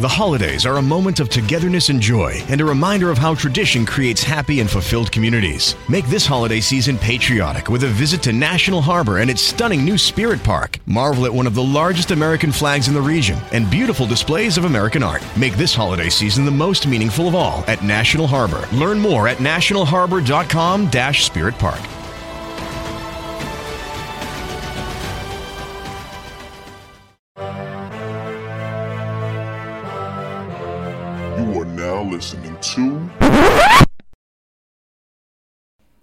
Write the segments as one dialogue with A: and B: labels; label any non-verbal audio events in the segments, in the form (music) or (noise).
A: The holidays are a moment of togetherness and joy and a reminder of how tradition creates happy and fulfilled communities. Make this holiday season patriotic with a visit to National Harbor and its stunning new Spirit Park. Marvel at one of the largest American flags in the region and beautiful displays of American art. Make this holiday season the most meaningful of all at National Harbor. Learn more at nationalharbor.com-spirit park.
B: You are now listening to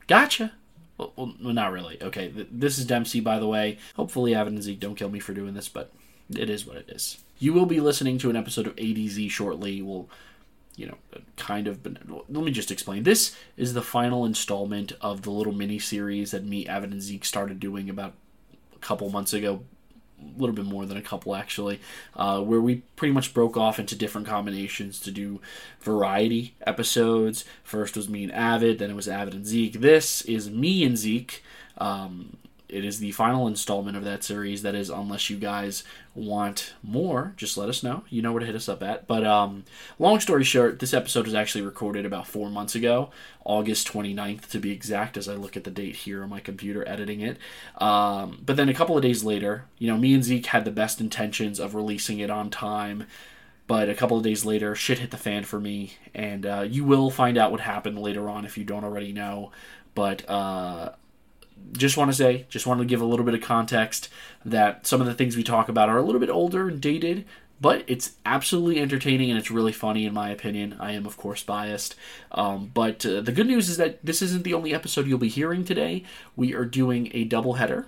C: Gotcha. Well, well, not really. Okay, th- this is Dempsey, by the way. Hopefully, Avin and Zeke don't kill me for doing this, but it is what it is. You will be listening to an episode of ADZ shortly. We'll, you know, uh, kind of. But let me just explain. This is the final installment of the little mini series that me, Avin, and Zeke started doing about a couple months ago. A little bit more than a couple, actually, uh, where we pretty much broke off into different combinations to do variety episodes. First was me and Avid, then it was Avid and Zeke. This is me and Zeke. Um, it is the final installment of that series. That is, unless you guys want more, just let us know. You know where to hit us up at. But um, long story short, this episode was actually recorded about four months ago, August 29th to be exact, as I look at the date here on my computer editing it. Um, but then a couple of days later, you know, me and Zeke had the best intentions of releasing it on time. But a couple of days later, shit hit the fan for me, and uh, you will find out what happened later on if you don't already know. But uh, just want to say, just wanted to give a little bit of context that some of the things we talk about are a little bit older and dated, but it's absolutely entertaining and it's really funny in my opinion. I am of course biased, um, but uh, the good news is that this isn't the only episode you'll be hearing today. We are doing a double header.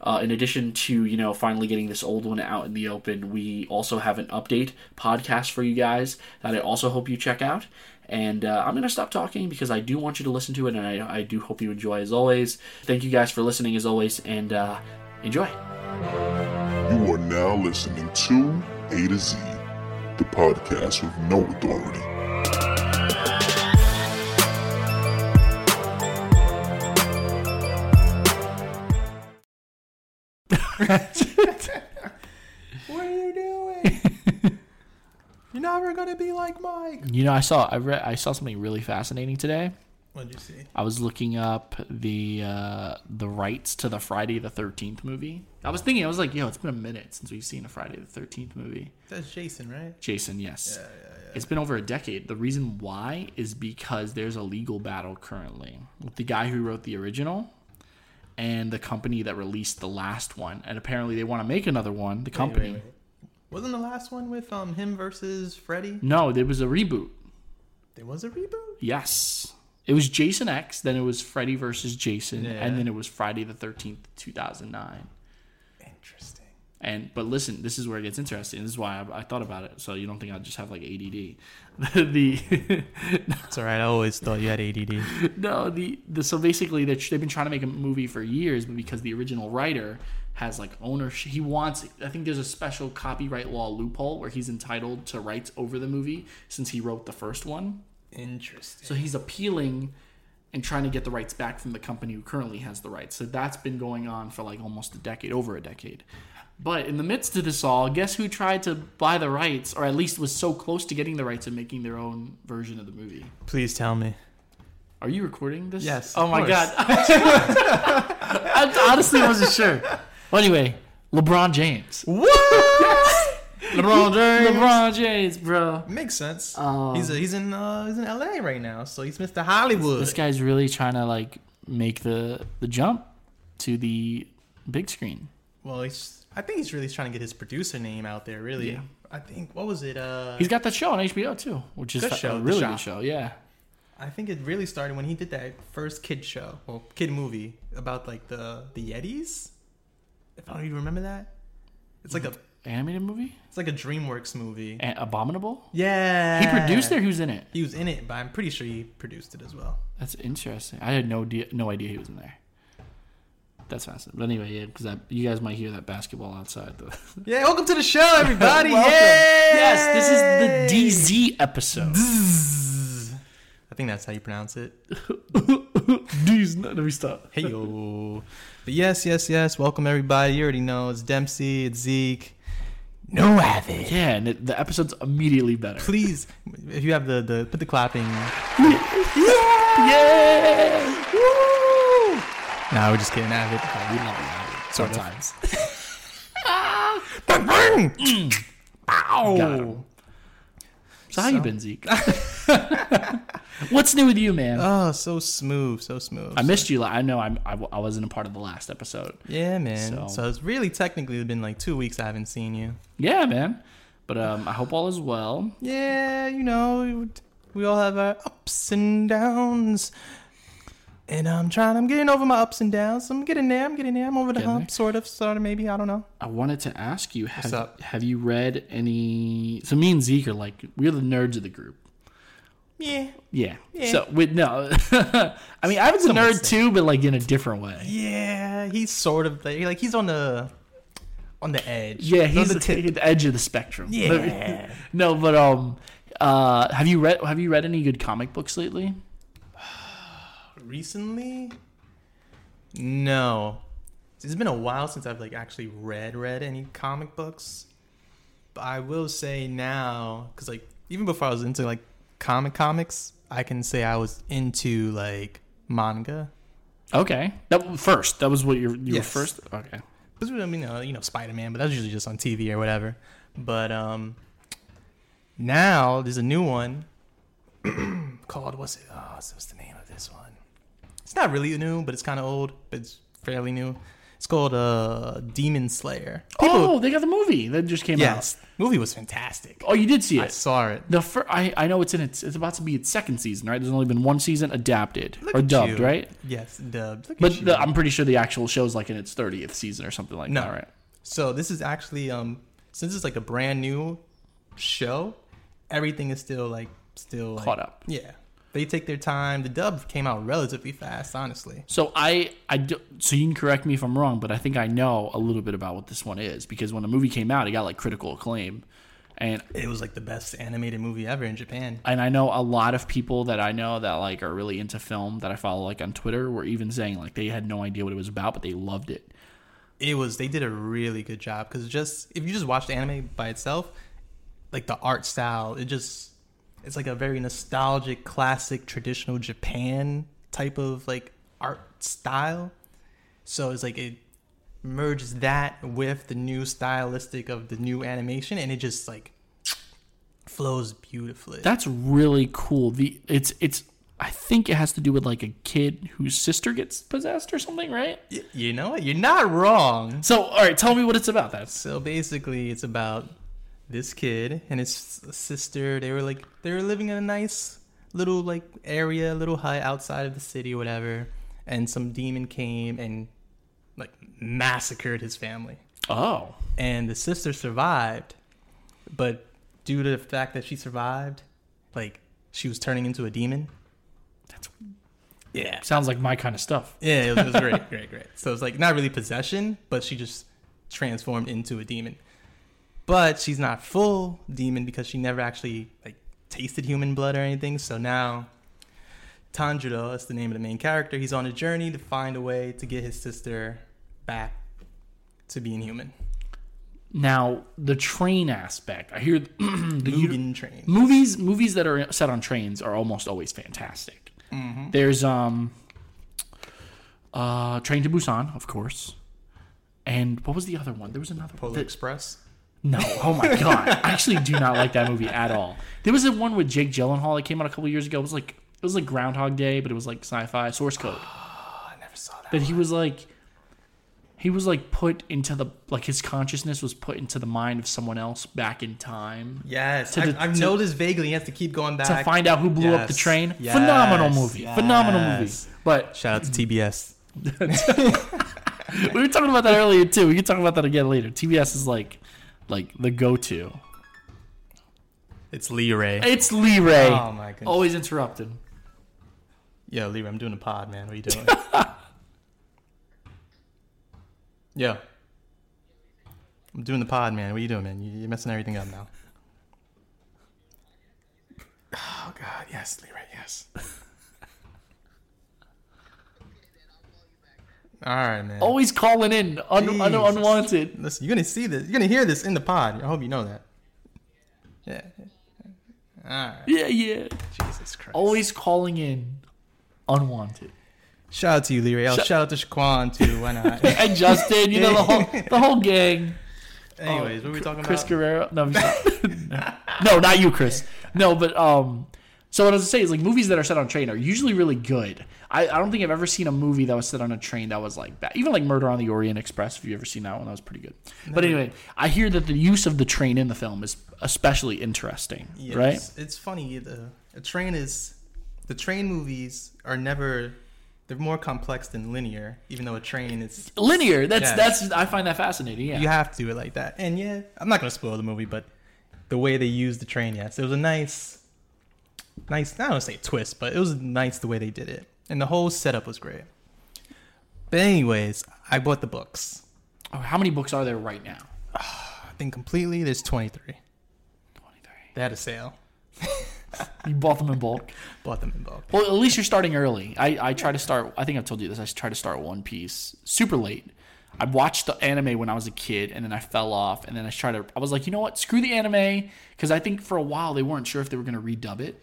C: Uh, in addition to you know finally getting this old one out in the open, we also have an update podcast for you guys that I also hope you check out. And uh, I'm going to stop talking because I do want you to listen to it, and I, I do hope you enjoy as always. Thank you guys for listening as always, and uh, enjoy.
B: You are now listening to A to Z, the podcast with no authority.
D: What are you doing? You're never gonna be like Mike.
C: You know, I saw I read I saw something really fascinating today.
D: What'd you see?
C: I was looking up the uh, the rights to the Friday the Thirteenth movie. I was thinking, I was like, yo, it's been a minute since we've seen a Friday the Thirteenth movie.
D: That's Jason, right?
C: Jason, yes, it's been over a decade. The reason why is because there's a legal battle currently with the guy who wrote the original and the company that released the last one, and apparently they want to make another one. The company.
D: Wasn't the last one with um him versus Freddy?
C: No, there was a reboot.
D: There was a reboot.
C: Yes. It was Jason X, then it was Freddy versus Jason,
D: Yeah.
C: and then it was Friday the 13th, 2009.
D: Interesting.
C: And but listen, this is where it gets interesting. This is why I, I thought about it. So you don't think I just have like ADD? (laughs) the
D: That's all right. I always thought you had ADD.
C: no, the, the so basically they're, they've been trying to make a movie for years, but because the original writer has like ownership, he wants. I think there's a special copyright law loophole where he's entitled to rights over the movie since he wrote the first one.
D: Interesting.
C: So he's appealing and trying to get the rights back from the company who currently has the rights. So that's been going on for like almost a decade, over a decade. But in the midst of this all, guess who tried to buy the rights, or at least was so close to getting the rights and making their own version of the movie?
D: Please tell me.
C: Are you recording this?
D: Yes,
C: Oh
D: of
C: my (laughs)
D: course.
C: god. I honestly wasn't sure. Well, anyway, LeBron James.
D: What?
C: LeBron James. LeBron James, bro.
D: Makes sense.
C: Um,
D: he's a, he's in uh, he's in LA right now, so he's Mr. Hollywood.
C: This guy's really trying to like make the the jump to the big screen.
D: well, he's I think he's really trying to get his producer name out there. Really.
C: Yeah.
D: I think what was it? Uh,
C: He's got that show on HBO too, which is
D: Good
C: a
D: show, The
C: really
D: Shop.
C: good show. Yeah,
D: I think it really started when he did that first kid show, well, kid movie about like the the Yetis. If I don't even remember that, it's like a
C: animated movie,
D: it's like a DreamWorks movie.
C: a- Abominable.
D: Yeah,
C: He produced it. Who's in it?
D: He was in it, but I'm pretty sure he produced it
C: (laughs)
D: as well.
C: That's interesting. I had no idea, no idea he was in there. That's fascinating. But anyway, yeah, because you guys might hear that basketball outside. Though. (laughs)
D: Yeah, welcome to the show, everybody!
C: Welcome.
D: Yay!
C: Yes, this is the DZ
D: (laughs)
C: episode.
D: I think that's how you
C: (laughs)
D: pronounce it.
C: DZ. No, let me stop.
D: Hey yo. But yes, yes, yes. Welcome everybody. You already know it's Dempsey, it's Zeke. No avid.
C: Yeah, and it, the episode's immediately better.
D: (laughs) Please, if you have the, the put the clapping.
C: Yeah!
D: Nah, we're just kidding. Avid.
C: We love Avid. Sometimes. (laughs)
D: (laughs)
C: Got him.
D: Ow.
C: So how you been,
D: (laughs)
C: Zeke? What's new with you, man?
D: Oh, so smooth, so smooth.
C: I missed you. la- I know I'm, I, w- I wasn't a part of the last episode.
D: yeah, man.
C: So-
D: So. it's really technically been like two weeks I haven't seen you.
C: Yeah, man. But um, I hope all is well.
D: Yeah, you know, we all have our ups and downs. And I'm trying, I'm getting over my ups and downs. I'm getting there, I'm getting there. I'm over the
C: Getting
D: hump, sort of, sort of, maybe. I don't know.
C: I wanted to ask you have,
D: up?
C: have you read any. So, me and Zeke are like, we're the nerds of the group.
D: Yeah.
C: Yeah. So, with no. (laughs) I mean, I was a
D: Somewhat
C: nerd too, but like in a different way.
D: Yeah, he's sort of like, like he's on the on the edge.
C: Yeah,
D: He's
C: he's
D: on the tip.
C: at the edge of the spectrum.
D: Yeah.
C: no, but (laughs) um, uh, have you read have you read any good comic books lately?
D: Recently? No. It's been a while since I've like actually read read any comic books. But I will say now cuz like even before I was into like comic comics, I can say I was into like manga.
C: Okay, that first that was what you you
D: Yes.
C: were first. Okay,
D: Cuz I mean, uh, you know, Spider-Man, but that's usually just on TV or whatever. But um now there's a new one (clears throat) called what's it? Oh, so what's the name of this one? It's not really new, but it's kind of old, but it's fairly new. It's called uh, Demon Slayer.
C: oh, they got the movie that just came
D: yes, movie was fantastic.
C: out. Oh, you did see
D: I
C: it.
D: saw it.
C: The fir- I I know it's in its it's about to be its second season, right? There's only been one season adapted or
D: at
C: dubbed,
D: you.
C: right?
D: Yes, dubbed. Look at
C: But
D: you.
C: the, I'm pretty sure the actual show's like in its 30th season or something like
D: No.
C: that, right?
D: so this is actually um since it's like a brand new show, everything is still like still like-
C: Caught up.
D: Yeah, they take their time. The dub came out relatively fast, honestly.
C: So I, I do, so you can correct me if I'm wrong, but I think I know a little bit about what this one is because when the movie came out, it got like critical acclaim, and
D: It was like the best animated movie ever in Japan.
C: and I know a lot of people that I know that like are really into film that I follow like on Twitter were even saying like they had no idea what it was about but they loved it.
D: it was they did a really good job because just if you just watch the anime by itself like the art style it just it's like a very nostalgic classic traditional japan type of like art style so it's like it merges that with the new stylistic of the new animation and it just like flows beautifully
C: That's really cool. The it's it's I think it has to do with like a kid whose sister gets possessed or something, right?
D: Y- you know what you're not wrong
C: So all right, tell me what it's about. That's
D: So basically, it's about this kid and his sister. They were like they were living in a nice little like area, little hut outside of the city, or whatever. And some demon came and like massacred his family.
C: oh
D: And the sister survived, but due to the fact that she survived, like she was turning into a demon. That's yeah.
C: sounds like my kind of stuff.
D: Yeah, it was, it was great, (laughs) great, great. So it's like not really possession, but she just transformed into a demon. But she's not full demon because she never actually like tasted human blood or anything. So now Tanjiro, that's the name of the main character, he's on a journey to find a way to get his sister back to being human.
C: Now the train aspect, I hear (clears throat) the
D: Mugen train.
C: movies movies that are set on trains are almost always fantastic. There's um uh Train to Busan, of course. And what was the other one? There was another
D: Polar
C: one. that-
D: Express.
C: no, oh my god. I actually do not like that movie at all. There was a one with Jake Gyllenhaal that came out a couple years ago. It was like it was like Groundhog Day, but it was like sci-fi source code.
D: I never saw that.
C: But he was like he was like put into the like his consciousness was put into the mind of someone else back in time.
D: Yes,
C: To
D: I,
C: the-
D: I've
C: to-
D: noticed vaguely. He has to keep going back
C: to find out who blew up the
D: Yes.
C: train.
D: Yes.
C: Phenomenal movie. Phenomenal movie.
D: Yes. (laughs)
C: But
D: Shout out to TBS.
C: we were talking about that earlier too. We can talk about that again later. TBS is like like the go to.
D: It's Lee Ray.
C: It's Lee Ray.
D: Oh my goodness.
C: Always interrupted.
D: Yo, Leroy, I'm doing a pod, man. What are you (laughs) doing? Yo. I'm doing the pod, man. What are you doing, man? You- You're messing everything up now. Oh, God. Yes, Leroy, yes. (laughs) All right, man.
C: Always calling in un- un-
D: Jesus.
C: unwanted.
D: Listen, you're gonna see this. You're gonna hear this in the pod. I hope you know that. Yeah. All right.
C: Yeah, yeah.
D: Jesus Christ.
C: Always calling in unwanted.
D: Shout out to you, Leary. Shout out to Shaquan too. Why not?
C: And Justin, you know the whole the whole gang.
D: (laughs) Anyways, what are we talking
C: Chris
D: about?
C: Guerrero. No, I'm sorry. (laughs) no, not you, Chris. No, but um. So what I was gonna say is like movies that are set on a train are usually really good. I, I don't think I've ever seen a movie that was set on a train that was like that. Even like Murder on the Orient Express, if you ever seen that one, that was pretty good. But anyway, I hear that the use of the train in the film is especially interesting,
D: Yes.
C: right?
D: It's funny. The a train is the train movies are never. They're more complex than linear, even though a train is.
C: Linear. That's
D: Yes.
C: that's I find that fascinating. Yeah.
D: You have to do it like that. And yeah, I'm not gonna spoil the movie, but the way they used the train, yes, it was a nice, nice. I don't wanna say twist, but it was nice the way they did it, and the whole setup was great. But anyways, I bought the books.
C: Oh, How many books are there right now?
D: I think completely. There's 23.
C: Twenty three.
D: They had a sale.
C: You bought them in bulk.
D: Bought them in bulk.
C: Well, at least you're starting early. I, I try to start. I think I've told you this. I try to start One Piece super late. I watched the anime when I was a kid, and then I fell off. And then I tried to. I was like, you know what? Screw the anime, because I think for a while they weren't sure if they were going to redub it.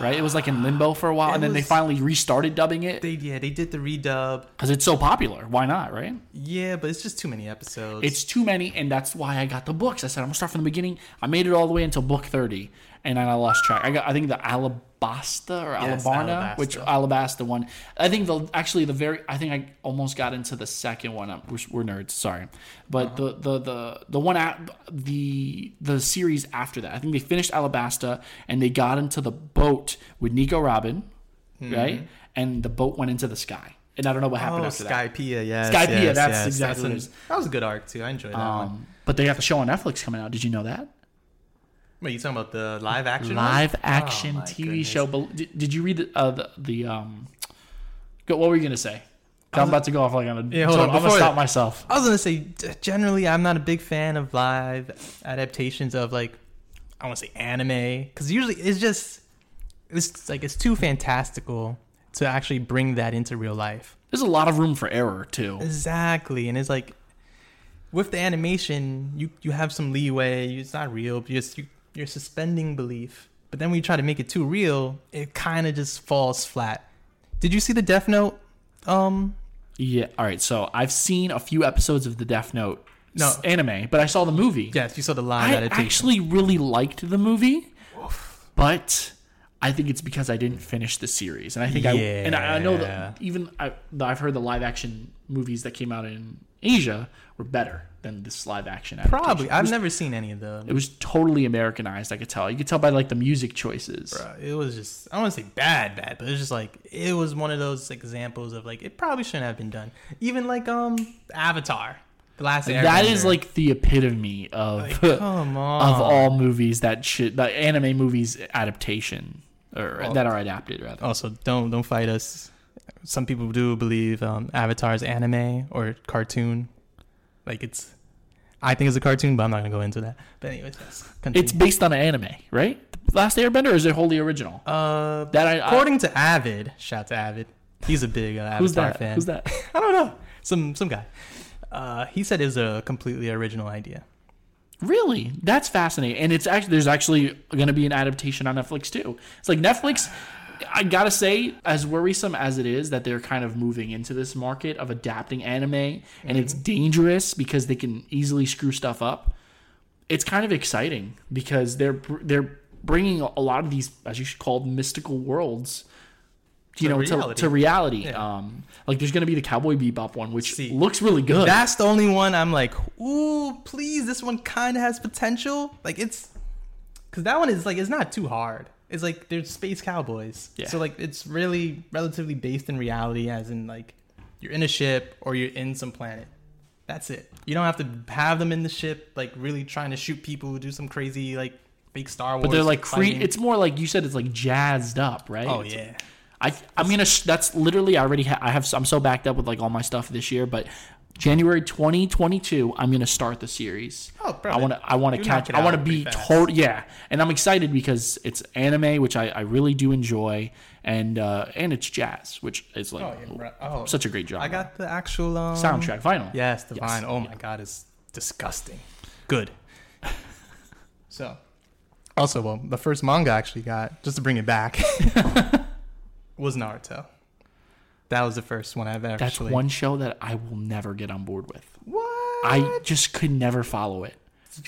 C: Right? It was like in limbo for a while, and then they
D: was-
C: finally restarted dubbing it
D: They yeah, they did the redub.
C: because it's so popular. Why not? Right?
D: Yeah, but it's just too many episodes.
C: It's too many, and that's why I got the books. I said I'm gonna start from the beginning. I made it all the way until book thirty, and then I lost track. I got I think the Alabasta or
D: Yes,
C: Alabana, which Alabasta one. I think the actually the very I think I almost got into the second one. Um, We're, we're nerds, sorry, but
D: Uh-huh.
C: the the the the one at the the series after that. I think they finished Alabasta, and they got into the boat with Nico Robin, right? And the boat went into the sky, and I don't know what happened
D: Mm-hmm. oh,
C: after that.
D: Skypea, yes,
C: Skypea,
D: yes,
C: that's
D: yes.
C: exactly what it is.
D: an- that was a good arc too. I enjoyed that one.
C: Um, but they have a show on Netflix coming out. Did you know that?
D: Wait, you talking about the live action? one?
C: Live
D: Oh,
C: action
D: my
C: TV
D: goodness.
C: show. But did, did you read the, uh, the the um? Go, what were you gonna say? 'Cause I'm about to go off like on a.
D: Yeah, hold
C: so
D: on,
C: I'm gonna
D: before
C: stop
D: that-
C: myself.
D: I was gonna say, g- generally, I'm not a big fan of live adaptations of like, I want to say anime, because usually it's just, it's like it's too fantastical to actually bring that into real life.
C: There's a lot of room for error too.
D: Exactly, and it's like with the animation, you you have some leeway. you- It's not real. but You're just, you, you're suspending belief. But then when you try to make it too real, it kind of just falls flat. Did you see the Death Note? Um,
C: Yeah. All right. So I've seen a few episodes of the Death Note
D: No.
C: s- anime, but I saw the movie.
D: yes, you saw the live
C: I
D: adaptation.
C: actually really liked the movie, but I think it's because I didn't finish the series, and I think I and I, I know
D: Yeah.
C: that even I, that I've heard the live action movies that came out in Asia were better than this live action. adaptation.
D: Probably, I've never seen any of them.
C: It was totally Americanized. I could tell. You could tell by like the music choices.
D: Uh, it was just I don't want to say bad, bad, but it's just like it was one of those examples of like it probably shouldn't have been done. Even like um Avatar, the last
C: That is
D: Airbender.
C: like the epitome of (laughs)
D: come
C: of
D: on
C: all movies that should the anime movies adaptation or that are adapted rather.
D: Also, don't don't fight us. Some people do believe um, Avatar's anime or cartoon, like it's. I think it's a cartoon, but I'm not gonna go into that. But anyways, yes, continue.
C: It's based on an anime, right? Last Airbender or is it wholly original?
D: uh
C: That I, I
D: according to Avid. Shout to Avid. He's a big uh, Avatar
C: who's that?
D: fan.
C: Who's that?
D: I don't know. Some some guy. Uh, he said it was a completely original idea.
C: Really? That's fascinating. And it's actually there's actually going to be an adaptation on Netflix too. It's like Netflix I got to say as worrisome as it is that they're kind of moving into this market of adapting anime and it's
D: Mm-hmm.
C: dangerous because they can easily screw stuff up. It's kind of exciting because they're br- they're bringing a lot of these as you called mystical worlds you
D: To
C: know
D: reality.
C: to, to reality um like there's going to be the cowboy bebop one which
D: See,
C: looks really good
D: That's the only one I'm like, ooh, please, this one kind of has potential. Like it's, because that one is like it's not too hard. It's like there's space cowboys,
C: Yeah.
D: so like it's really relatively based in reality, as in like you're in a ship or you're in some planet. That's it. You don't have to have them in the ship, like really trying to shoot people, do some crazy like fake Star Wars.
C: But they're like cre-
D: fighting.
C: it's more like you said it's like jazzed up, right?
D: oh
C: It's-
D: yeah.
C: I I'm gonna sh- that's literally I already ha- I have s- I'm so backed up with like all my stuff this year, but January 2022, I'm gonna start the series.
D: Oh, bro,
C: I want to. I want to
D: you
C: catch.
D: knock it
C: I want to
D: out
C: be
D: pretty fast.
C: total. Yeah, and I'm excited because it's anime, which I, I really do enjoy, and uh, and it's jazz, which is like
D: Oh, yeah, bro. Oh,
C: such a great job.
D: I got the actual um,
C: soundtrack vinyl.
D: Yes, the vine. Oh my god, it's disgusting. Good. (laughs) so, also, well, the first manga I actually got just to bring it back (laughs) was Naruto. That was the first one I've ever.
C: That's
D: actually.
C: one show that I will never get on board with.
D: What?
C: I just could never follow it.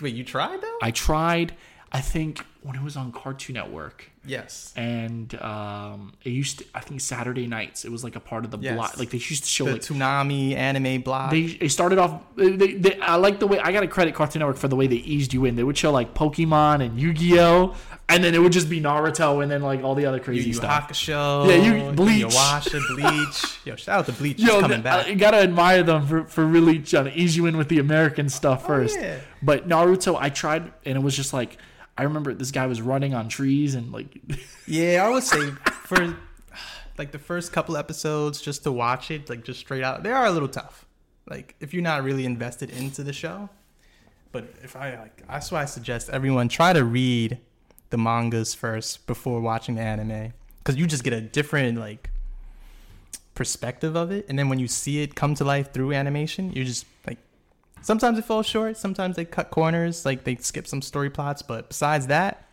D: Wait, you tried though?
C: I tried. I think when it was on Cartoon Network,
D: yes.
C: and um, it used. To, I think Saturday nights. It was like a part of the
D: Yes.
C: block. Like they used to show
D: The
C: like
D: tsunami anime block.
C: they, they started off. They, they, I like the way I got to credit Cartoon Network for the way they eased you in. They would show like Pokemon and Yu Gi Oh, and then it would just be Naruto and then like all the other
D: Yu
C: crazy
D: Yu
C: stuff.
D: Hakusho.
C: Yeah, you- Bleach.
D: Yawasha, Bleach.
C: (laughs)
D: Yo, shout out to Bleach. it's
C: Yo, uh,
D: coming
C: th-
D: back.
C: I gotta admire them for, for really trying to ease you in with the American stuff first.
D: Oh, yeah.
C: But Naruto, I tried and it was just like I remember this guy was running on trees and like (laughs)
D: Yeah, I would say for like the first couple episodes, just to watch it, like just straight out, they are a little tough. Like if you're not really invested into the show. But if I like, that's why I suggest everyone try to read the mangas first before watching the anime, because you just get a different like perspective of it, and then when you see it come to life through animation, you just like. Sometimes it falls short. Sometimes they cut corners, like they skip some story plots. But besides that,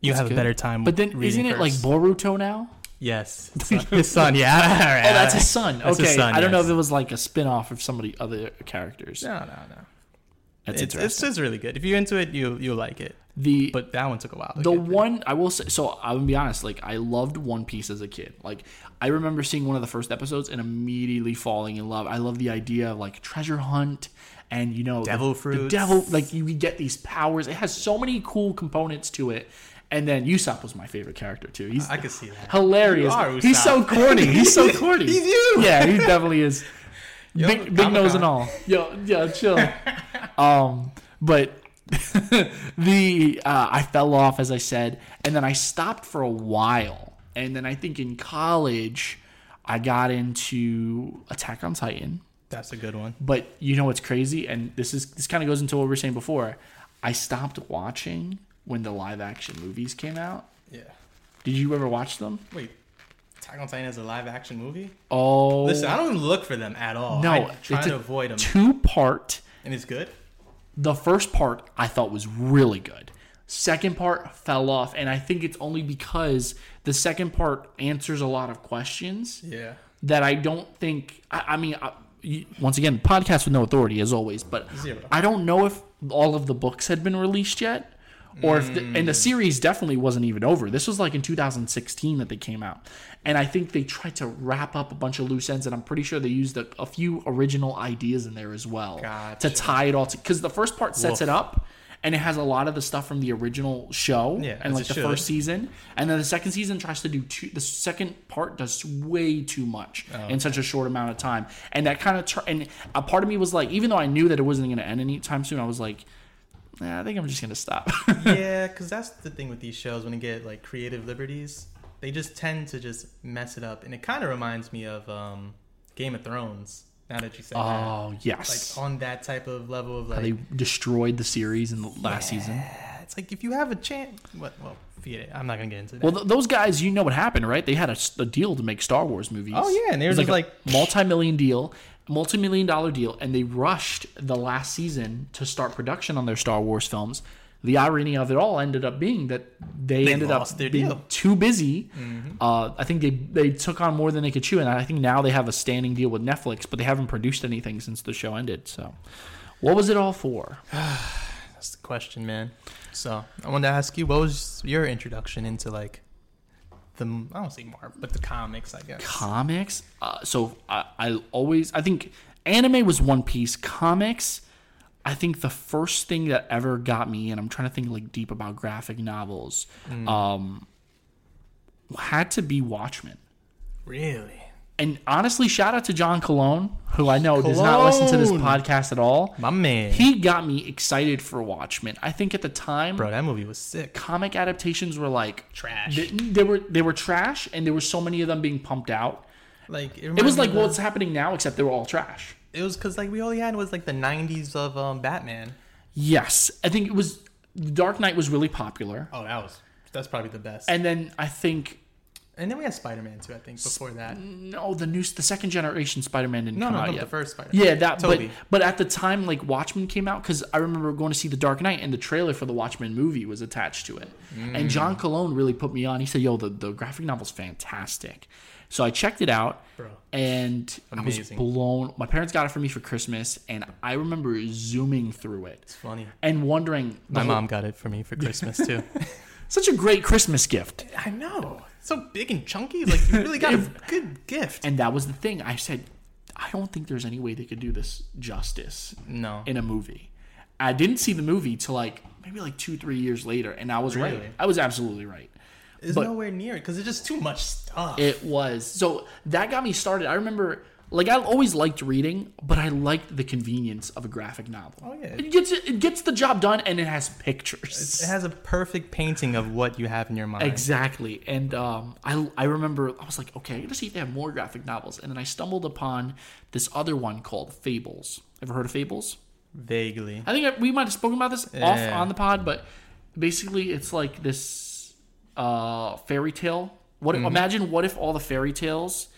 D: you have
C: good.
D: a better time.
C: But then
D: reading
C: isn't it like
D: first.
C: Boruto now?
D: Yes, his son. Yeah. (laughs) All right.
C: Oh, that's his son.
D: (laughs) That's
C: okay,
D: his son,
C: I don't know
D: yes.
C: if it was like a spin off of somebody other characters.
D: No, no, no.
C: That's
D: It's,
C: interesting.
D: it's just really good. If you're into it, you you'll like it.
C: the
D: But that one took a while. to
C: the
D: get through.
C: one I will say, so I'm gonna be honest. Like I loved One Piece as a kid. Like I remember seeing one of the first episodes and immediately falling in love. I love the idea of like treasure hunt and you know the-
D: Devil
C: The
D: fruits.
C: devil like you could get these powers. It has so many cool components to it. And then Usopp was my favorite character too. He's
D: I could see that.
C: hilarious.
D: You are
C: He's so
D: Usopp.
C: corny. (laughs) He's so corny.
D: He's you.
C: Yeah, he definitely is. big big
D: Comic-Con.
C: nose and all. Yo, yeah, chill. (laughs) um, but (laughs) the uh, I fell off as I said, and then I stopped for a while, and then I think in college I got into Attack on Titan.
D: That's a good one.
C: But you know what's crazy, and this is this kind of goes into what we were saying before. I stopped watching when the live action movies came out.
D: Yeah.
C: Did you ever watch them?
D: Wait. Attack on Titan is a live action movie.
C: Oh,
D: Listen, I don't even look for them at all.
C: no,
D: I try
C: it's
D: to
C: a
D: avoid (laughs) them,
C: Two part.
D: and it's good.
C: The first part I thought was really good. Second part fell off, and I think it's only because the second part answers a lot of questions
D: Yeah.
C: that I don't think. I, I mean, I, you, once again, podcast with no authority as always, but
D: Zero.
C: I don't know if all of the books had been released yet, or if the,
D: Mm.
C: and the series definitely wasn't even over. This was like in 2016 that they came out, and I think they tried to wrap up a bunch of loose ends, and I'm pretty sure they used a, a few original ideas in there as well
D: Gotcha.
C: to tie it all to because the first part sets it up. And it has a lot of the stuff from the original show
D: Yeah,
C: and
D: as
C: like
D: it
C: the
D: should.
C: first season, and then the second season tries to do too. The second part does way too much in such a short amount of time, and that kind of tr- and a part of me was like, even though I knew that it wasn't going to end anytime soon, I was like, nah, I think I'm just going to stop.
D: (laughs)
C: (laughs)
D: yeah, because that's the thing with these shows when you get like creative liberties, they just tend to just mess it up, and it kind of reminds me of um, Game of Thrones. Now that you said that.
C: oh
D: like
C: yes,
D: on that type of level of like
C: they destroyed the series in the last season.
D: it's like if you have a chance what well forget it i'm not gonna get into that
C: Well, th- those guys, you know what happened, right? They had a, s- a deal to make Star Wars movies.
D: Oh, yeah, and they
C: It
D: were
C: was
D: just
C: a multi-million deal, multi-million dollar deal, and they rushed the last season to start production on their Star Wars films. The irony of it all ended up being that they,
D: They
C: ended
D: lost
C: up
D: their
C: being
D: deal. Mm-hmm.
C: too busy. Uh, I think they they took on more than they could chew, and I think now they have a standing deal with Netflix, but they haven't produced anything since the show ended. So, what was it all for?
D: that's the question man so i wanted to ask you what was your introduction into like the i don't say marvel but the comics i guess
C: comics. Uh, so I, I always I think anime was One Piece. Comics, I think the first thing that ever got me, and I'm trying to think like deep about graphic novels,
D: Hmm.
C: um, had to be Watchmen.
D: really
C: And honestly, shout out to John Cologne, who I know does not listen to this
D: Cologne.
C: podcast at all.
D: my man
C: He got me excited for Watchmen. I think at the time,
D: bro that movie was sick
C: comic adaptations were like
D: Trash.
C: They, they were they were trash, and there were so many of them being pumped out.
D: like
C: It was like what's happening now, except they were all trash.
D: It was because like we only had was like the '90s of um, Batman.
C: Yes, I think it was Dark Knight was really popular,
D: Oh, that was that's probably the best. And,
C: and then I think
D: then we had Spider-Man too. I think before that. No,
C: no, the new the second generation Spider-Man didn't
D: no,
C: come out
D: not
C: yet.
D: the first Spider-Man.
C: Yeah, that.
D: Toby.
C: But but at the time, like Watchmen came out, because I remember going to see The Dark Knight, and the trailer for the Watchmen movie was attached to it.
D: Mm.
C: And John Colone really put me on. He said, "Yo, the the graphic novel's fantastic." So I checked it out,
D: Bro.
C: and
D: Amazing.
C: I was blown. My parents got it for me for Christmas, and I remember zooming through it
D: It's funny.
C: and wondering,
D: My mom got it for me for Christmas (laughs) too.
C: such a great Christmas gift."
D: I know. So big and chunky. Like you
C: (laughs)
D: really got a good gift.
C: And that was the thing. I said, "I don't think there's any way they could do this justice."
D: No.
C: in a movie. I didn't see the movie till like maybe like two, three years later, and I was right.
D: Really?
C: I was absolutely right.
D: It's
C: but-
D: nowhere near it because it's just too much stuff.
C: It was so that got me started. I remember, like, I always liked reading, but I liked the convenience of a graphic novel.
D: Oh, yeah.
C: it gets it gets the job done, and it has pictures.
D: It has a perfect painting of what you have in your mind.
C: Exactly, and um, I I remember I was like, okay, I'm gonna see if they have more graphic novels, and then I stumbled upon this other one called Fables. Ever heard of Fables?
D: Vaguely.
C: I think I- we might have spoken about this off
D: Yeah.
C: on the pod, but basically, it's like this uh, fairy tale. What imagine what if all the fairy tales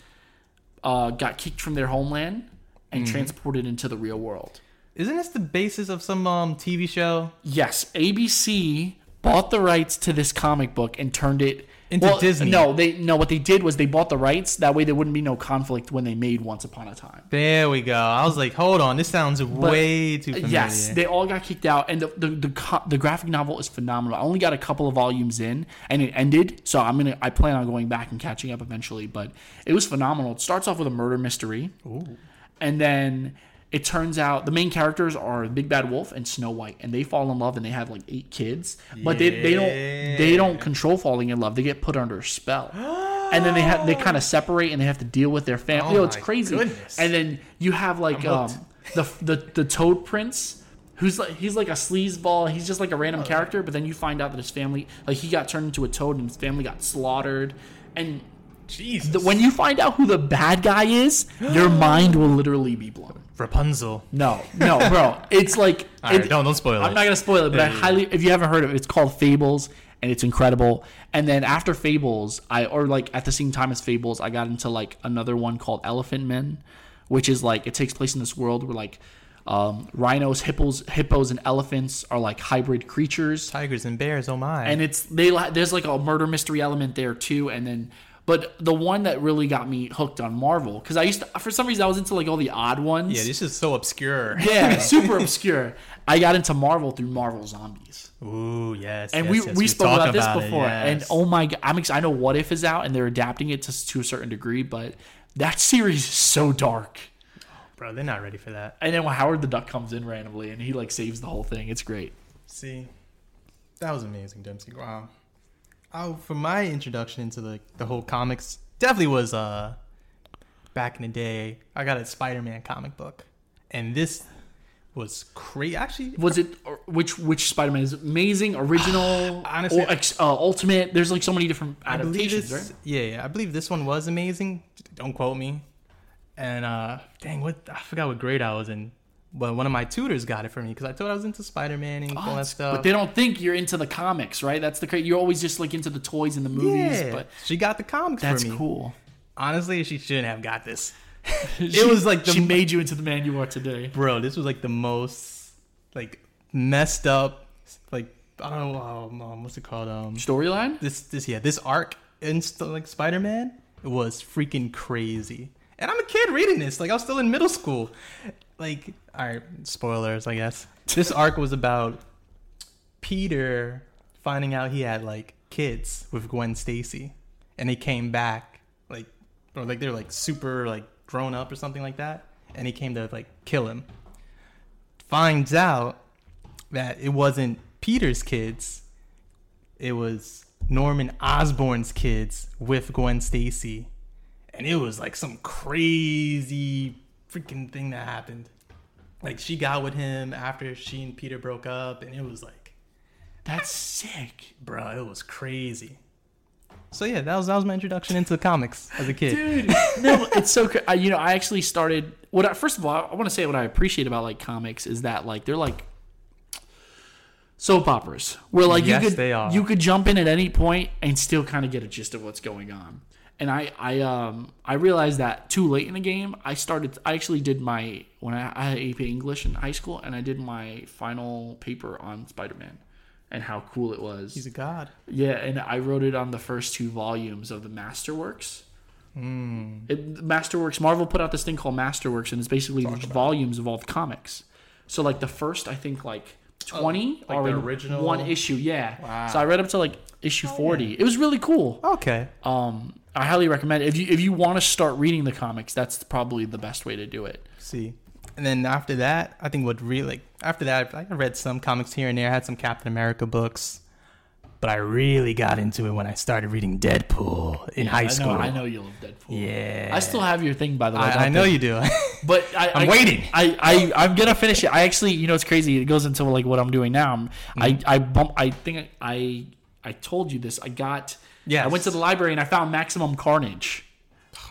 C: uh, got kicked from their homeland and transported into the real world?
D: Isn't this the basis of some um, TV show
C: Yes, ABC bought the rights to this comic book and turned it
D: Into Disney.
C: No, they no. What they did was they bought the rights. That way, there wouldn't be no conflict when they made Once Upon a Time.
D: There we go. I was like, hold on, this sounds way too familiar.
C: uh, Yes, they all got kicked out, and the the, the co- the graphic novel is phenomenal. I only got a couple of volumes in, and it ended. So I'm gonna I plan on going back and catching up eventually. But it was phenomenal. It starts off with a murder mystery, and then it turns out the main characters are Big Bad Wolf and Snow White, and they fall in love and they have like eight kids. But they, they don't they don't control falling in love. They get put under a spell. And then they have they kind of separate and they have to deal with their family.
D: Oh
C: you know, it's
D: my
C: crazy.
D: goodness.
C: And then you have like
D: hooked.
C: um, the the the Toad Prince, who's like he's like a sleazeball. He's just like a random character. But then you find out that his family, like he got turned into a toad, and his family got slaughtered. And
D: Jesus.
C: the, when you find out who the bad guy is, your mind will literally be blown.
D: Rapunzel.
C: No, no, bro, it's like
D: (laughs) All right,
C: it-
D: don't don't spoil
C: I'm
D: it.
C: not gonna spoil it, but I highly if you haven't heard of it, it's called Fables and it's incredible. And then after Fables, I or like at the same time as Fables, I got into like another one called Elephant Men, which is like it takes place in this world where like um, rhinos, hippos, hippos, and elephants are like hybrid creatures,
D: Tigers and bears. Oh my.
C: and it's they li- there's like a murder mystery element there too, and then. But the one that really got me hooked on Marvel, because I used to, for some reason, I was into like all the odd ones.
D: yeah, this is so obscure.
C: yeah, (laughs) super obscure. I got into Marvel through Marvel Zombies
D: Ooh, yes.
C: and
D: yes,
C: we,
D: yes,
C: we spoke
D: talked
C: about this
D: it,
C: before and
D: yes.
C: oh my god i'm excited i know what if is out and they're adapting it to, to a certain degree but that series is so dark
D: bro, they're not ready for that.
C: and then when howard the duck comes in randomly and he like saves the whole thing it's great
D: See, that was amazing, Dempsey. Wow. Oh, for my introduction into the the whole comics, definitely was uh back in the day. I got a Spider-Man comic book, and this was crazy. Actually,
C: was it or which which spider-man is it amazing original
D: (sighs) Honestly-
C: or ex, uh, ultimate there's like so many different
D: I believe
C: adaptations
D: this.
C: right
D: Yeah, yeah, I believe this one was amazing. Don't quote me. And uh, dang, what I forgot what grade I was in, but one of my tutors got it for me because I thought I was into Spider-Man and all that stuff.
C: but they don't think you're into the comics right that's the cra- you're always just like into the toys and the movies
D: yeah,
C: but
D: she got the comics
C: that's
D: for me.
C: cool
D: Honestly, she shouldn't have got this.
C: She-
D: was like the
C: she
D: m-
C: made you into the man you are today
D: bro this was like the most like messed up like i don't know um, um, what's it called um
C: storyline
D: this this yeah this arc in st- like spider-man was freaking crazy and i'm a kid reading this like i was still in middle school like all right spoilers i guess this arc was about peter finding out he had like kids with gwen stacy and he came back like or like they're like super like grown up or something like that and he came to like kill him finds out that it wasn't peter's kids it was Norman Osborn's kids with Gwen Stacy. And it was like some crazy freaking thing that happened. Like she got with him after she and Peter broke up and it was like,
C: that's sick
D: bruh, it was crazy. So yeah, that was that was my introduction into comics as a kid.
C: dude. No, it's so. cra- I- You know, I actually started what I, first of all, I want to say what I appreciate about like comics is that like they're like soap operas where like
D: Yes,
C: you could
D: they are.
C: you could jump in at any point and still kind of get a gist of what's going on. And I I um I realized that too late in the game. I started I actually did my when I, I had AP English in high school and I did my final paper on Spider Man and how cool it was.
D: He's a god.
C: Yeah, and I wrote it on the first two volumes of the Masterworks.
D: Hmm.
C: Mm. It, Masterworks, Marvel put out this thing called Masterworks, and it's basically the volumes of all the comics. So, like, the first, I think, like, 20
D: Oh, like
C: are
D: the
C: in
D: original-
C: one issue. Yeah. So I read up to, like, issue 40. It was really cool.
D: Okay.
C: Um, I highly recommend it. If you, if you want to start reading the comics, that's probably the best way to do it.
D: see. And then after that, I think what really like after that, I I read some comics here and there. I had some Captain America books, but I really got into it when I started reading Deadpool in high
C: I
D: school.
C: know, I know you love Deadpool.
D: Yeah.
C: I still have your thing, by the way. don't
D: I, I know
C: they?
D: you do. (laughs)
C: But I,
D: I'm
C: I-
D: waiting.
C: I, I I'm gonna finish it. I actually, you know, it's crazy. It goes into like what I'm doing now. I'm-
D: Mm-hmm.
C: I I bump. I think I I told you this. I got.
D: Yes.
C: I went to the library and I found Maximum Carnage,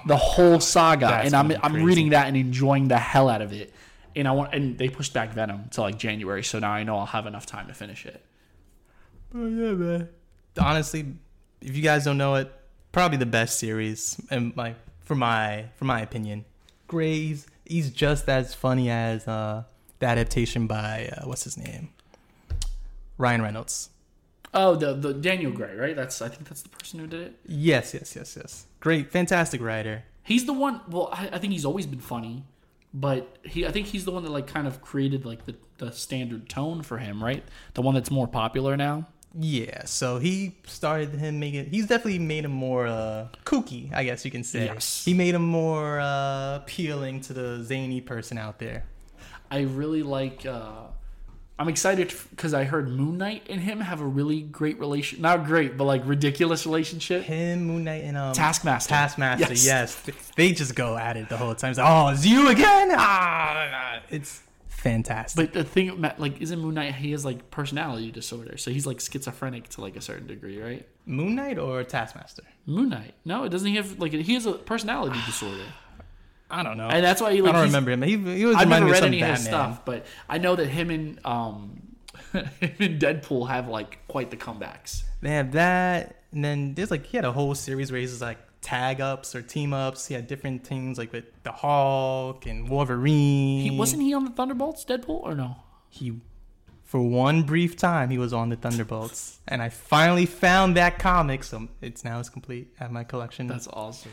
C: the whole saga,
D: That's
C: and I'm
D: gonna be
C: I'm
D: crazy.
C: reading that and enjoying the hell out of it. And I want and they pushed back Venom to like January, so now I know I'll have enough time to finish it.
D: Oh yeah, man. Honestly, if you guys don't know it, probably the best series, and like for my for my opinion, Gray's he's just as funny as uh, the adaptation by uh, what's his name, Ryan Reynolds.
C: Oh, the the Daniel Gray, right? That's I think that's the person who did it.
D: Yes, yes, yes, yes. Great, fantastic writer.
C: He's the one. Well, I, I think he's always been funny, but he. I think he's the one that like kind of created like the the standard tone for him, right? The one that's more popular now.
D: Yeah, so he started him making. He's definitely made him more uh, kooky, I guess you can say.
C: Yes.
D: He made him more uh, appealing to the zany person out there.
C: I really like. uh I'm excited because I heard Moon Knight and him have a really great relation. Not great, but like ridiculous relationship.
D: Him, Moon Knight, and um,
C: Taskmaster.
D: Taskmaster,
C: Yes.
D: yes. Th- They just go at it the whole time. It's like, oh, it's you again? Ah, it's fantastic.
C: But the thing, ma- like, isn't Moon Knight? He has like personality disorder, so he's like schizophrenic to like a certain degree, right?
D: Moon Knight or Taskmaster?
C: Moon Knight. No, it doesn't. He have like he has a personality disorder,
D: I don't know.
C: and that's why he.
D: I
C: Like,
D: don't
C: he's-
D: remember him. He, he was
C: I've never read
D: some
C: any of his
D: Batman.
C: stuff, but I know that him and um, (laughs) him and Deadpool have like quite the comebacks.
D: They have that, and then there's like he had a whole series where he's just like tag ups or team ups. He had different teams like with the Hulk and Wolverine.
C: He wasn't he on the Thunderbolts, Deadpool, or no?
D: he for one brief time he was on the Thunderbolts, and I finally found that comic, so it's now it's complete at my collection.
C: That's awesome.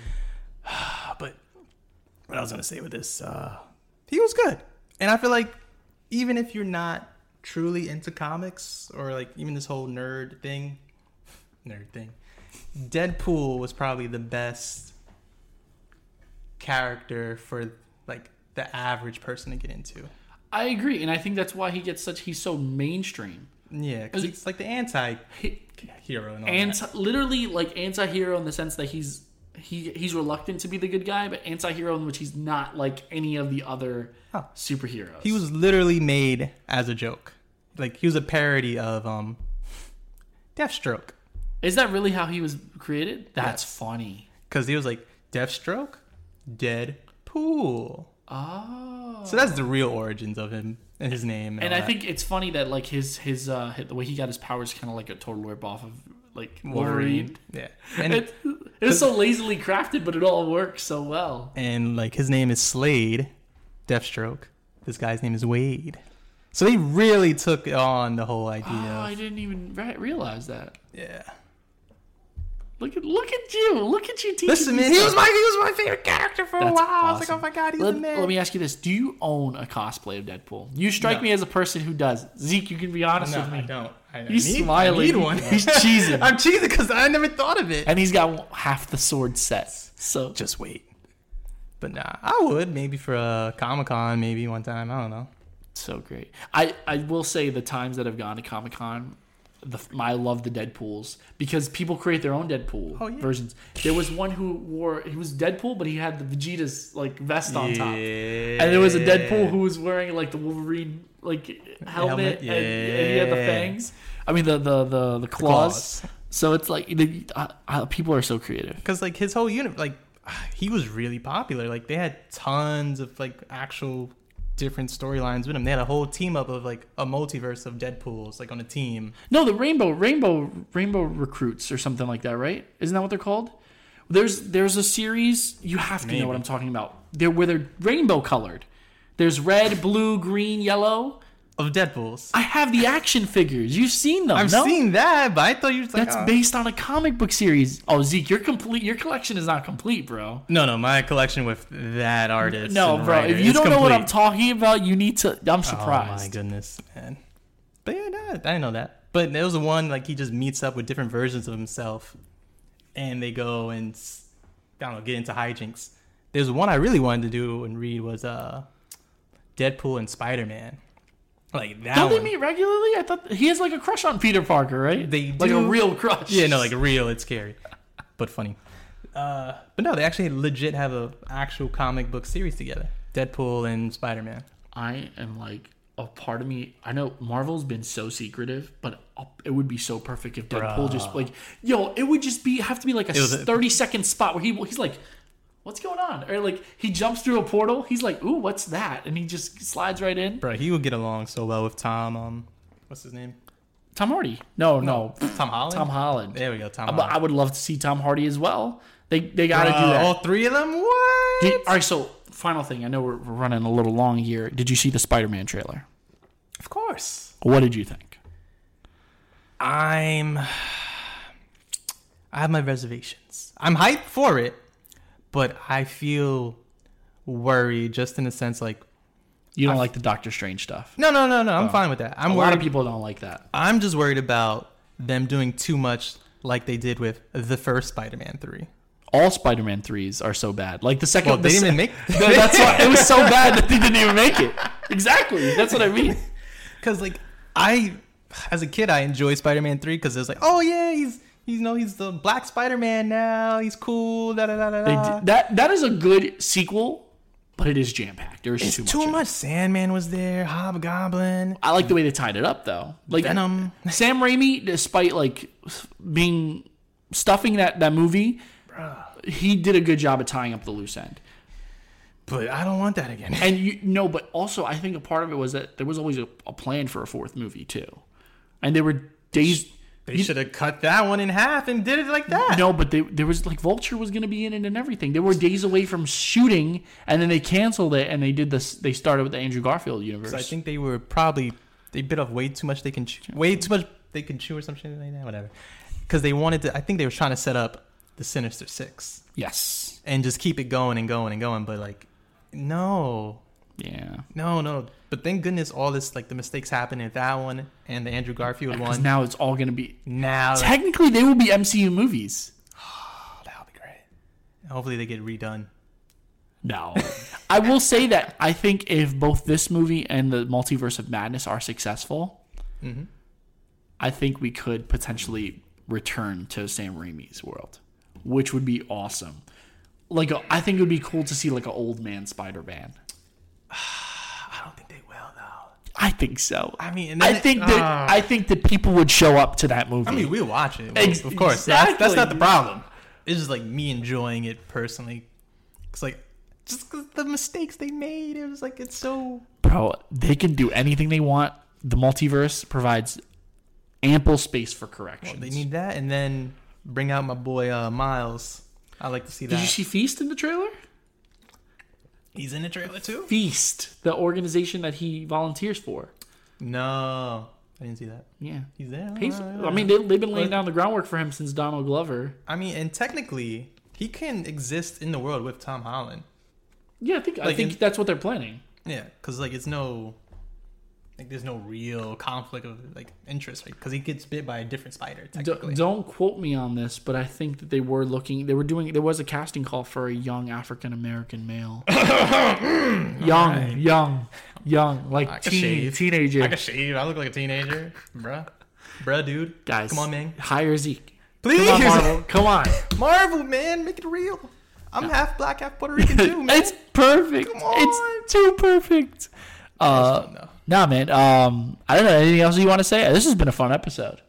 D: but what I was gonna say with this, uh, he was good, and I feel like even if you're not truly into comics or like even this whole nerd thing, nerd thing, Deadpool was probably the best character for like the average person to get into.
C: I agree, and I think that's why he gets such. He's so mainstream.
D: Yeah, because it's like the anti
C: He,
D: hero and all
C: anti, literally like anti-hero in the sense that he's he he's reluctant to be the good guy, but anti-hero in which he's not like any of the other
D: Huh.
C: superheroes.
D: He was literally made as a joke. Like he was a parody of um Deathstroke.
C: Is that really how he was created? That's funny.
D: Because he was like, Deathstroke, Deadpool.
C: Oh.
D: So that's the real origins of him and his name. And,
C: And
D: all
C: I
D: that.
C: think it's funny that like his his uh hi- the way he got his powers kind of like a total rip off of like Wolverine.
D: Yeah. And,
C: It, it was so lazily crafted, but it all works so well.
D: and like his name is Slade, Deathstroke. This guy's name is Wade. So they really took on the whole idea. (gasps)
C: Oh,
D: of,
C: I didn't even re- realize that.
D: yeah.
C: Look at look at you! Look at you teaching.
D: Listen,
C: me
D: man, he
C: stuff.
D: was my he was my favorite character for a
C: That's
D: while. I was like,
C: awesome.
D: oh my god, he's
C: Let,
D: the man.
C: let me ask you this: Do you own a cosplay of Deadpool? You strike
D: No.
C: me as a person who does. Zeke, you can be honest
D: No,
C: with me.
D: I don't. I, I
C: He's
D: need,
C: smiling.
D: I need one.
C: He's cheesing.
D: (laughs) I'm cheesing because I never thought of it.
C: And he's got half the sword set. So
D: Just wait. But nah, I would maybe for a Comic Con, maybe one time. I don't know.
C: So great. I, I will say the times that I've gone to Comic Con, the I love the Deadpool's because people create their own Deadpool
D: Oh, yeah.
C: versions. There was one who wore he was Deadpool, but he had the Vegeta's like vest on top, and there was a Deadpool who was wearing like the Wolverine like helmet,
D: Helmet,
C: and, and he had the
D: yeah.
C: fangs. I mean the the the, the claws.
D: claws.
C: So it's like the, uh, uh, people are so creative.
D: Because like (sighs) his whole unit, like he was really popular. Like they had tons of like actual different storylines with him. They had a whole team up of like a multiverse of Deadpool's like on a team.
C: No, the rainbow, rainbow, rainbow recruits or something like that, right? Isn't that what they're called? There's there's a series you have to know what I'm talking about. They're where they're rainbow colored. There's red, blue, green, yellow.
D: Of Deadpool's.
C: I have the action figures. You've seen them.
D: I've
C: no?
D: seen that, but I thought you were just like
C: That's
D: oh.
C: based on a comic book series. Oh, Zeke, your complete your collection is not complete, bro.
D: No, no, my collection with that artist.
C: No,
D: and
C: bro.
D: writer
C: If you
D: is
C: don't know what I'm
D: complete.
C: talking about, you need to. I'm
D: Oh my
C: surprised.
D: goodness, man. But yeah, no, I didn't know that. But there was the one like he just meets up with different versions of himself, and they go and s- I don't know get into hijinks. There's one I really wanted to do and read was uh, Deadpool and Spider Man. Like that.
C: don't they
D: one.
C: meet regularly? I thought he has like a crush on Peter Parker, right?
D: They
C: like a
D: do.
C: real crush.
D: Yeah, no, like real. It's scary, but funny. Uh, but no, they actually legit have a actual comic book series together. Deadpool and Spider Man.
C: I am like a part of me. I know Marvel's been so secretive, but it would be so perfect if Deadpool just like, yo, it would just be have to be like a
D: was
C: thirty
D: a-
C: second spot where he he's like, what's going on? Or like he jumps through a portal. He's like, ooh, what's that? And he just slides right in.
D: Bro, he would get along so well with Tom. Um, what's his name?
C: Tom Hardy. No, no,
D: Tom Holland.
C: Tom Holland.
D: There we go. Tom.
C: But I
D: Holland.
C: would love to see Tom Hardy as well. They they got to do
D: Uh,
C: that.
D: All three of them. What?
C: Did- all right, so final thing. I know we're, we're running a little long here. Did you see the Spider-Man trailer?
D: of course.
C: What did you think?
D: I'm. I have my reservations. I'm hyped for it, but I feel worried just in the sense like
C: You don't like the Doctor Strange stuff.
D: no, no, no, no. I'm fine with that. I'm
C: Oh. A
D: worried.
C: lot of people don't like that.
D: I'm just worried about them doing too much like they did with the first Spider-Man 3.
C: All Spider-Man threes are so bad. Like the second,
D: Well,
C: the
D: they didn't
C: se-
D: even
C: (laughs)
D: make
C: No, that's why it was
D: (laughs)
C: so bad that they didn't even make it. Exactly. That's what I mean.
D: cuz like I as a kid I enjoyed Spider-Man 3 cuz it was like, "Oh yeah, he's he's you know, he's the black Spider-Man now. He's cool." Da, da, da, da,
C: They
D: da.
C: did, that that is a good sequel, but it is jam packed. There's
D: It's
C: too,
D: too,
C: in it.
D: much. Sandman was there, Hobgoblin.
C: I like the way they tied it up though. Like
D: Venom.
C: Sam Raimi, despite like being stuffing that that movie, he did a good job at tying up the loose end.
D: But I don't want that again.
C: And you no, but also I think a part of it was that there was always a, a plan for a fourth movie too, and they were days.
D: They should have cut that one in half and did it like that.
C: No, but they, there was like Vulture was going to be in it and everything. They were days away from shooting, and then they canceled it, and they did this. They started with the Andrew Garfield universe.
D: I think they were probably they bit off way too much they can chew, way too much they can chew or something like that, whatever. Because they wanted to, I think they were trying to set up the Sinister Six
C: yes,
D: and just keep it going and going and going. But like, no,
C: yeah.
D: no, no. But thank goodness all this like the mistakes happened in that one and the Andrew Garfield
C: Because
D: one.
C: now it's all going to be.
D: now like,
C: Technically, they will be MCU movies.
D: oh, (sighs) that'll be great. Hopefully they get redone.
C: No. (laughs) I will say that I think if both this movie and the Multiverse of Madness are successful, Mm-hmm. I think we could potentially return to Sam Raimi's world, which would be awesome. Like, a- I think it would be cool to see like an old man Spider Man.
D: I don't think they will though.
C: I think so.
D: I mean, and
C: I
D: then- Ah.
C: think that I think that people would show up to that movie.
D: I mean, we'll watch it,
C: Ex-
D: of course. That's, that's not the
C: exactly.
D: problem. It's just like me enjoying it personally. It's like just 'cause the mistakes they made. It was like it's so
C: Bro, they can do anything they want. The multiverse provides ample space for corrections.
D: they need that, and then bring out my boy uh, Miles. I like to see that.
C: Did you see Feast in the trailer?
D: He's in the trailer too.
C: Feast, the organization that he volunteers for.
D: No, I didn't see that.
C: Yeah.
D: He's there.
C: He's, I mean, they, they've been laying down the groundwork for him since Donald Glover.
D: I mean, and technically, he can exist in the world with Tom Holland.
C: Yeah, I think I
D: Like
C: think
D: in-
C: that's what they're planning.
D: Yeah, because like it's no, like there's no real conflict of like interest, right? Because he gets bit by a different spider.
C: D-
D: Technically,
C: don't quote me on this, but I think that they were looking. They were doing. There was a casting call for a young African American (coughs) male. young, young, young, like
D: can
C: teen,
D: shave.
C: teenager.
D: I can shave. I look like a teenager, bruh, bruh, dude.
C: Guys,
D: come on, man.
C: Hire Zeke.
D: Please,
C: Come on, Marvel. Come on. (laughs)
D: Marvel, man, make it real. I'm half black, half Puerto
C: (laughs)
D: Rican too, man.
C: it's perfect.
D: Come on.
C: It's too perfect. Uh,
D: no.
C: Nah, man. Um, I don't know anything else you want to say. This has been a fun episode.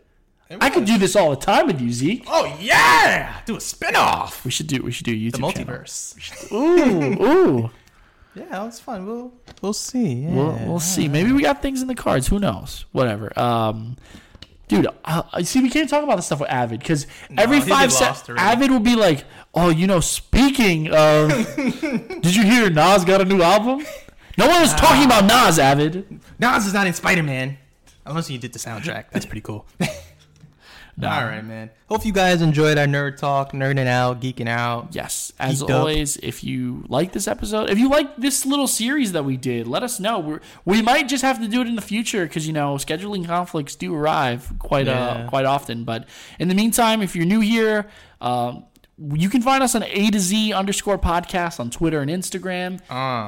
C: I could do this all the time with you, Zeke.
D: Oh yeah, do a spinoff.
C: We should do we should do a YouTube
D: The multiverse.
C: channel. Ooh,
D: (laughs)
C: ooh.
D: Yeah, it's fun. We'll we'll see. Yeah.
C: We'll, we'll see. Maybe we got things in the cards. Who knows? Whatever. Um, dude, I, I- see, we can't talk about this stuff with Avid because every
D: he'd be
C: five
D: lost
C: seconds,
D: already.
C: Avid will be like, "Oh, you know, speaking
D: (laughs)
C: of, did you hear Nas got a new album? No one was talking about Nas, Avid.
D: Nas is not in Spider Man. Unless you did the soundtrack. That's pretty cool. (laughs) All right, man. Hope you guys enjoyed our nerd talk, nerding out, geeking out.
C: Yes, as
D: Geeked up.
C: always, if you like this episode, if you like this little series that we did, let us know. We're, we might just have to do it in the future because you know scheduling conflicts do arrive quite
D: Yeah.
C: uh, quite often. But in the meantime, if you're new here, um, you can find us on A to Z underscore podcast on Twitter and Instagram.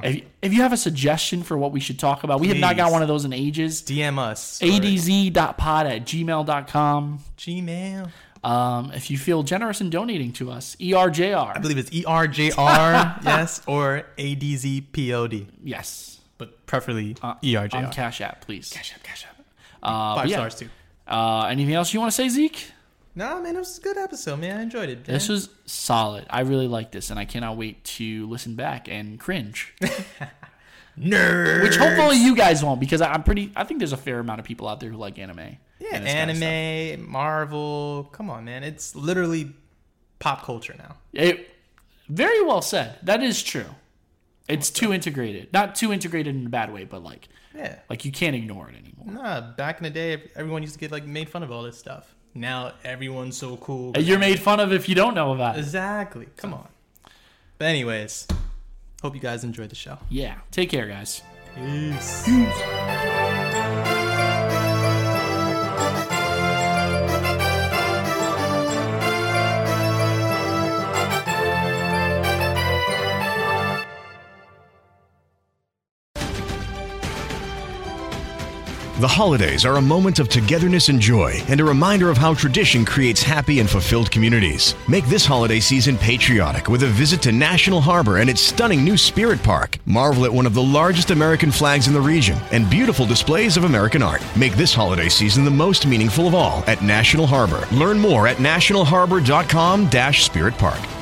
C: If, if you have a suggestion for what we should talk about, we have not got
D: Ah. Please.
C: one of those in ages.
D: DM us.
C: ADZ.pod at gmail.com.
D: Gmail.
C: Um, if you feel generous in donating to us, E ERJR.
D: I believe it's E R J
C: (laughs)
D: R, yes, or A D Z P O D.
C: yes.
D: But preferably E R J
C: on
D: R.
C: Cash App, please. Cash App, Cash App. Uh,
D: Five
C: yeah.
D: stars, too.
C: Uh, anything else you want to say, Zeke?
D: Nah, man, it was a good episode, man. I enjoyed it.
C: This was solid. I really like this, and I cannot wait to listen back and
D: (laughs)
C: cringe,
D: nerd.
C: which hopefully you guys won't, because I, I'm pretty. I think there's a fair amount of people out there who like anime.
D: Yeah,
C: and this kind of stuff.
D: anime, Marvel. Come on, man. It's literally pop culture now.
C: It, very well said. That is true. It's too integrated. Not too integrated in a bad way, but like,
D: Yeah.
C: like you can't ignore it anymore.
D: Nah, back in the day, ev- everyone used to get like made fun of all this stuff. Now everyone's so cool.
C: You're made fun of if you don't know about it.
D: Exactly. Come on. But anyways, hope you guys enjoyed the show.
C: Yeah. Take care, guys.
D: Peace.
A: The holidays are a moment of togetherness and joy, and a reminder of how tradition creates happy and fulfilled communities. Make this holiday season patriotic with a visit to National Harbor and its stunning new Spirit Park. Marvel at one of the largest American flags in the region and beautiful displays of American art. Make this holiday season the most meaningful of all at National Harbor. Learn more at nationalharbor.com-spiritpark.